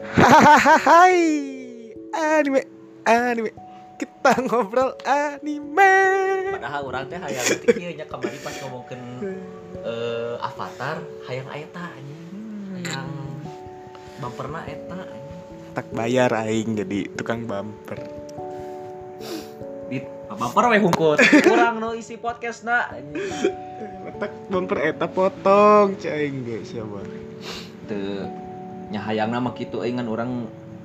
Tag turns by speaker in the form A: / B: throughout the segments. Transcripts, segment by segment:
A: Hai anime anime kita ngobrol anime.
B: padahal orang teh hayang teh kieu nya kembali pas ngomongkeun eh, avatar hayang eta anjing hayang bumperna eta anjing
A: Tak bayar aing jadi tukang bumper.
B: dit ah, bumper we hungkut kurang no isi podcast na
A: Tak bumper eta potong cing ge siapa.
B: teu nya hayang nama kitu euy ngan urang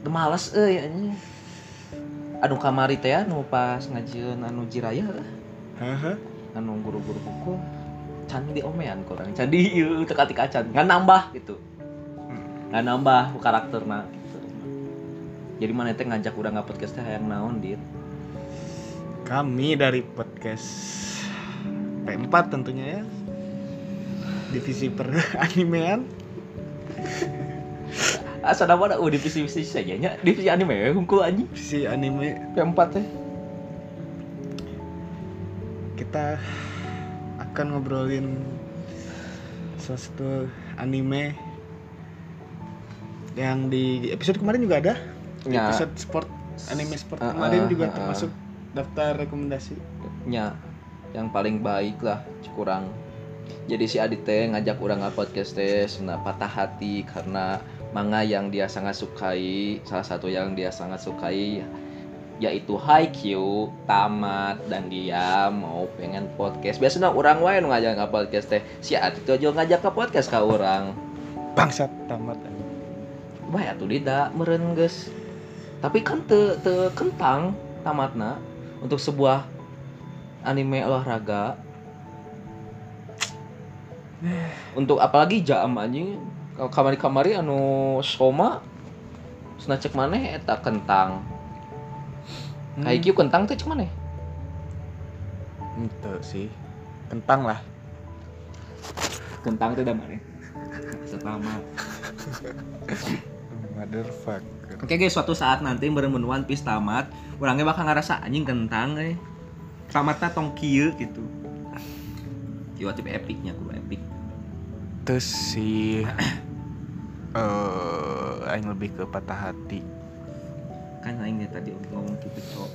B: teu males euy anjing anu kamari teh anu pas ngajieun anu jiraya
A: Haha.
B: anu guru-guru buku can diomean kurang can di ieu teu katika can ngan nambah gitu ngan nambah karakterna gitu. jadi mana teh ngajak urang ngapot teh hayang naon dit
A: Kami dari podcast P4 tentunya ya. Divisi per animean.
B: asa nama ada uh, divisi divisi saja nya divisi anime ya hungkul anjing
A: Divisi anime
B: P4 teh
A: kita akan ngobrolin salah satu anime yang di episode kemarin juga ada Di
B: nya
A: episode sport anime sport
B: Ah,
A: kemarin
B: ah,
A: juga
B: ah,
A: termasuk daftar rekomendasi
B: nya yang paling baik lah kurang jadi si Adit teh ngajak orang ngapot teh sebenarnya patah hati karena manga yang dia sangat sukai salah satu yang dia sangat sukai yaitu Haikyuu tamat dan dia mau pengen podcast biasanya orang wae nu ngajak ke podcast teh si Adit tuh aja ngajak ke podcast ka orang
A: bangsat tamat eh.
B: Wah atuh tidak meren geus. Tapi kan te, te kentang tamatna untuk sebuah anime olahraga. untuk apalagi jam anjing kalau kamari-kamari anu soma cenah cek maneh eta kentang.
A: Hmm,
B: Haikyuu kentang teh cek maneh.
A: ente sih kentang lah
B: Kentang teh da maneh. Setama.
A: motherfucker
B: Oke guys, suatu saat nanti meureun mun One Piece tamat, orangnya bakal ngerasa anjing kentang eh. Tamatnya tong kieu gitu. Kieu tipe epicnya kudu epic.
A: terus si eh aing lebih ke patah hati
B: Kan aing nya tadi ngomong gitu, cok.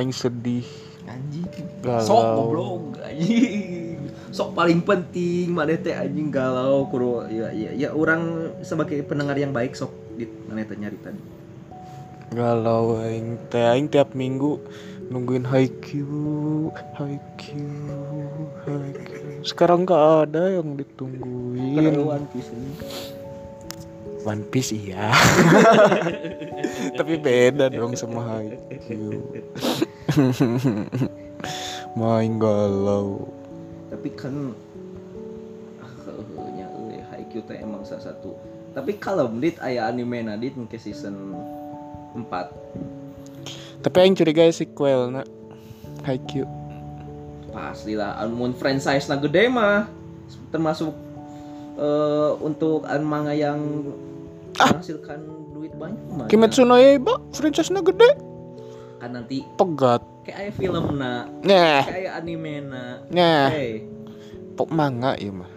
A: aing sedih
B: Anjing.
A: Galau.
B: Sok goblok anjing. Sok paling penting mana teh anjing galau kudu ya ya ya orang sebagai pendengar yang baik sok di mana teh nyarita.
A: Galau aing teh aing tiap minggu nungguin Haikyuu, Haikyuu, Haikyuu. Sekarang nggak ada yang ditungguin.
B: Keruan Piece ini.
A: One Piece iya. Tapi beda dong sama Haikyuu. Main galau.
B: tapi kan nya euy Haikyuu teh emang salah satu tapi kalau dit aya anime na dit mungkin season 4
A: Tapi aing curiga ya sequel na Haikyuu.
B: pastilah anmun franchise na Anu gede mah termasuk eh, untuk an manga yang menghasilkan duit banyak mah ya.
A: Ah. Kimetsu no Yaiba franchise-nya gede,
B: kan nanti
A: pegat.
B: kayak aya film na
A: Nah,
B: kayak aya anime na
A: nah,
B: hey
A: pok manga ya mah.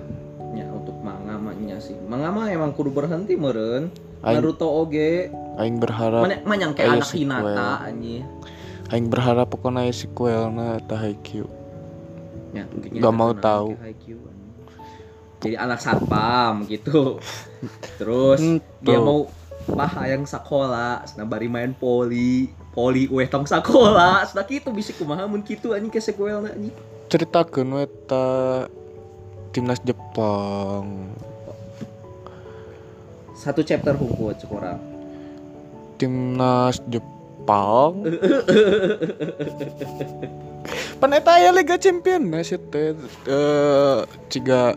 B: nya untuk manga mah nya sih manga mah emang kudu berhenti meureun
A: Aing,
B: Naruto oge
A: aing berharap
B: mana mana yang kayak
A: Aya
B: anak
A: sequel.
B: Hinata anjing
A: Aing berharap pokoknya aya sequel na eta Haikyuu.
B: Ya, mungkin
A: Nggak
B: itu
A: mau
B: kenapa
A: tahu.
B: pakai IQ. kan. Jadi anak satpam gitu. Terus
A: Hmm,
B: dia
A: Tuh.
B: mau bah yang sekolah, nah bari main poli, poli we tong sekolah. Sudah kitu bisi kumaha mun kitu anjing ke sequelna anjing.
A: ceritakeun we eta timnas Jepang,
B: Satu chapter hukum sekolah.
A: timnas Jepang. Pan eta aya Liga Champion na sih teh eh ciga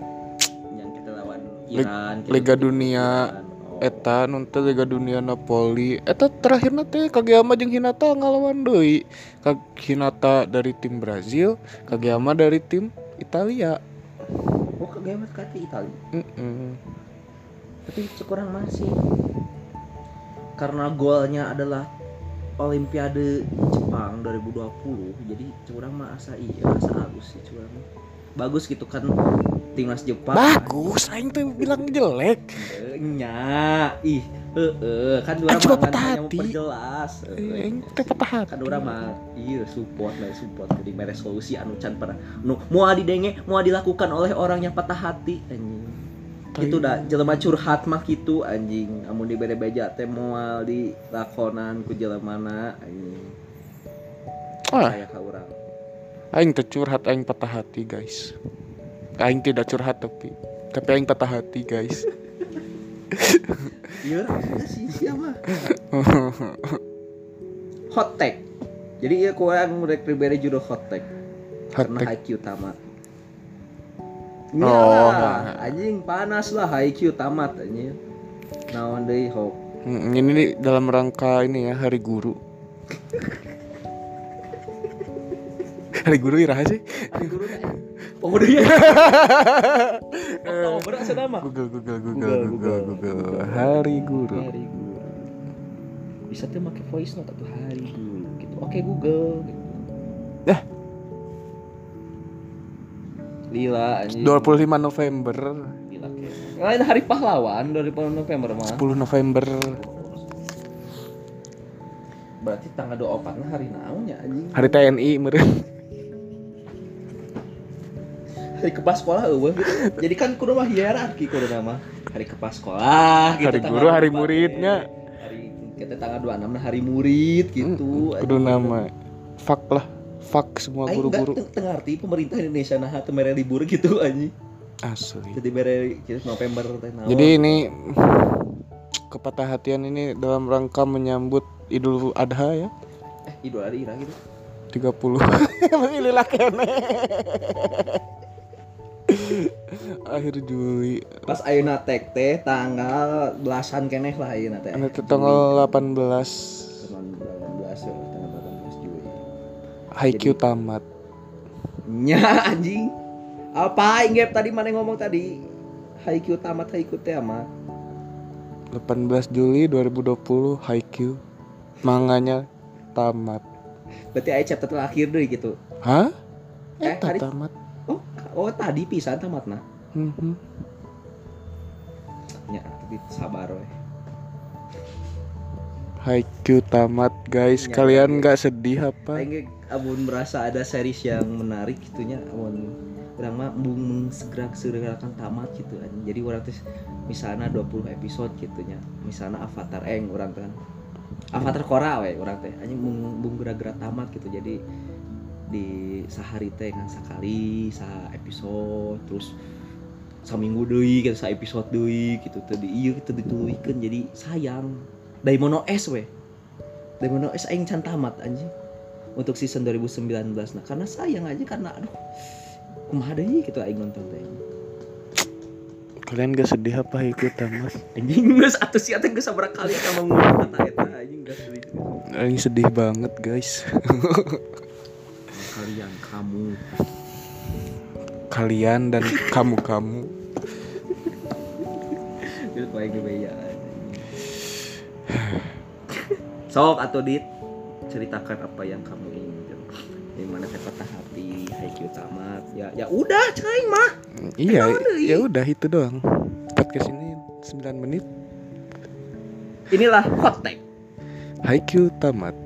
B: Yang kita lawan
A: Lig-
B: Iran, kita
A: Liga
B: lawan
A: Dunia
B: Iran. Oh.
A: eta nu teh Liga Dunia Napoli. Eta terakhirna teh Kageyama jeung Hinata ngalawan deui. Kag Hinata dari tim Brazil, Kageyama dari tim Italia.
B: Oh, kegemet kati Itali.
A: Mm-mm.
B: tapi kurang masih karena golnya adalah Olimpiade Jepang 2020 jadi kurang mah asa iya asa bagus sih kurang bagus gitu kan timnas Jepang
A: Bagus, aing teh bilang jelek.
B: Eh, nya ih Heeh, kan dua
A: Anjing, patah
B: yang
A: hati.
B: memperjelas. Heeh.
A: Aing teh patah hati.
B: kan orang mah iya support lah support jadi mere solusi anu can pernah nu mau didenge mau dilakukan oleh orang yang patah hati anjing
A: Tai.
B: itu Gitu dah jelema curhat mah gitu anjing amun dibere beja teh moal dilakonan ku jelema na anjing
A: Ah.
B: kayak ka urang
A: Aing teh curhat aing patah hati guys. Aing tidak curhat tapi tapi aing patah hati guys.
B: iya lah, sih sia mah hot tech jadi iya kurang mereka pribadi judul hot tech karena
A: Hati.
B: HQ tamat
A: Oh.
B: Iya, anjing panas lah HQ tamat anjing. Naon deui hoax.
A: Mm, Ini nih dalam rangka ini ya Hari Guru. Hari Guru iraha sih?
B: Hari guru teh. Oh, udah ya. Oktober asa nama.
A: Google Google Google
B: Google,
A: Google
B: Google.
A: Google. Hari Guru.
B: Hari guru. Bisa tuh make voice note atau hari guru
A: Hmm.
B: gitu. Oke Google gitu.
A: Dah.
B: Lila anjing.
A: 25 November,
B: Lila kayak. Lain hari pahlawan 25 November mah.
A: 10 November.
B: Berarti tanggal 24 nah hari naon ya anjing.
A: Hari TNI meureun.
B: Hari kepala sekolah eueuh gitu. Jadi kan kudu mah hierarki kudu nama. Hari kepala sekolah gitu.
A: Hari
B: tanggal
A: guru, hari
B: 24,
A: muridnya.
B: eh. Hari kita tanggal 26 nah hari murid gitu.
A: Mm,
B: anjing.
A: Kudu nama. Fuck lah. Fuck semua
B: Aing nggak
A: guru-guru
B: teng- tengah arti pemerintah Indonesia nah teu mere libur gitu anjing.
A: asli.
B: Jadi mere gitu, November teh naon.
A: Jadi ini kepatah hatian ini dalam rangka menyambut Idul Adha ya
B: eh Idul Adha gitu.
A: 30 Masih lila kene Akhir Juli
B: Pas ayeuna tek teh tanggal belasan keneh lah ayeuna teh.
A: Nanti tanggal
B: Juli.
A: 18
B: Tanggal 18 ya, tanggal 18 Juli.
A: Haikyuu tamat
B: Nya anjing. Apa inggep tadi mana yang ngomong tadi? Haiku tamat haiku teh amat.
A: 18 Juli 2020 Haikyuu Manganya tamat
B: Berarti aya chapter terakhir deui gitu.
A: Hah?
B: Eh,
A: Eh,
B: hari-
A: tamat
B: Oh, oh tadi pisan tamatna.
A: Mhm.
B: Nya tapi sabar we.
A: Haikyuu tamat guys
B: Ya, ya.
A: Kalian nggak sedih apa?
B: Aing abun merasa ada series yang menarik gitunya abun orang mah bung segera segerakan tamat gitu anjing. Jadi orang tuh misalnya 20 episode gitunya. Misalnya Avatar Eng orang teh kan. Avatar Korra we orang teh anjing bung, bung gerak-gerak tamat gitu. Jadi di sehari teh kan sekali sa episode terus saminggu deui gitu sa episode deui gitu teh di ieu kita dituluikeun jadi sayang. Daimono S we. Daimono S aing can tamat anjing untuk season 2019 nah karena sayang aja karena aduh kumaha deui gitu aing nonton teh
A: Kalian gak sedih apa Haikyuu tamat?
B: anjing geus atuh sia teh geus sabaraha kali ka ngomong kata eta anjing geus deui
A: Ini sedih banget guys
B: kalian kamu
A: Kalian dan kamu-kamu
B: gitu aing gebeya sok atuh dit ceritakan apa yang kamu ingin yang mana teh patah hati haiku tamat ya ya udah cai mah
A: Iya
B: Kenapa deui?
A: ya udah itu doang Podcast ini 9 menit
B: inilah hot take
A: Haikyuu tamat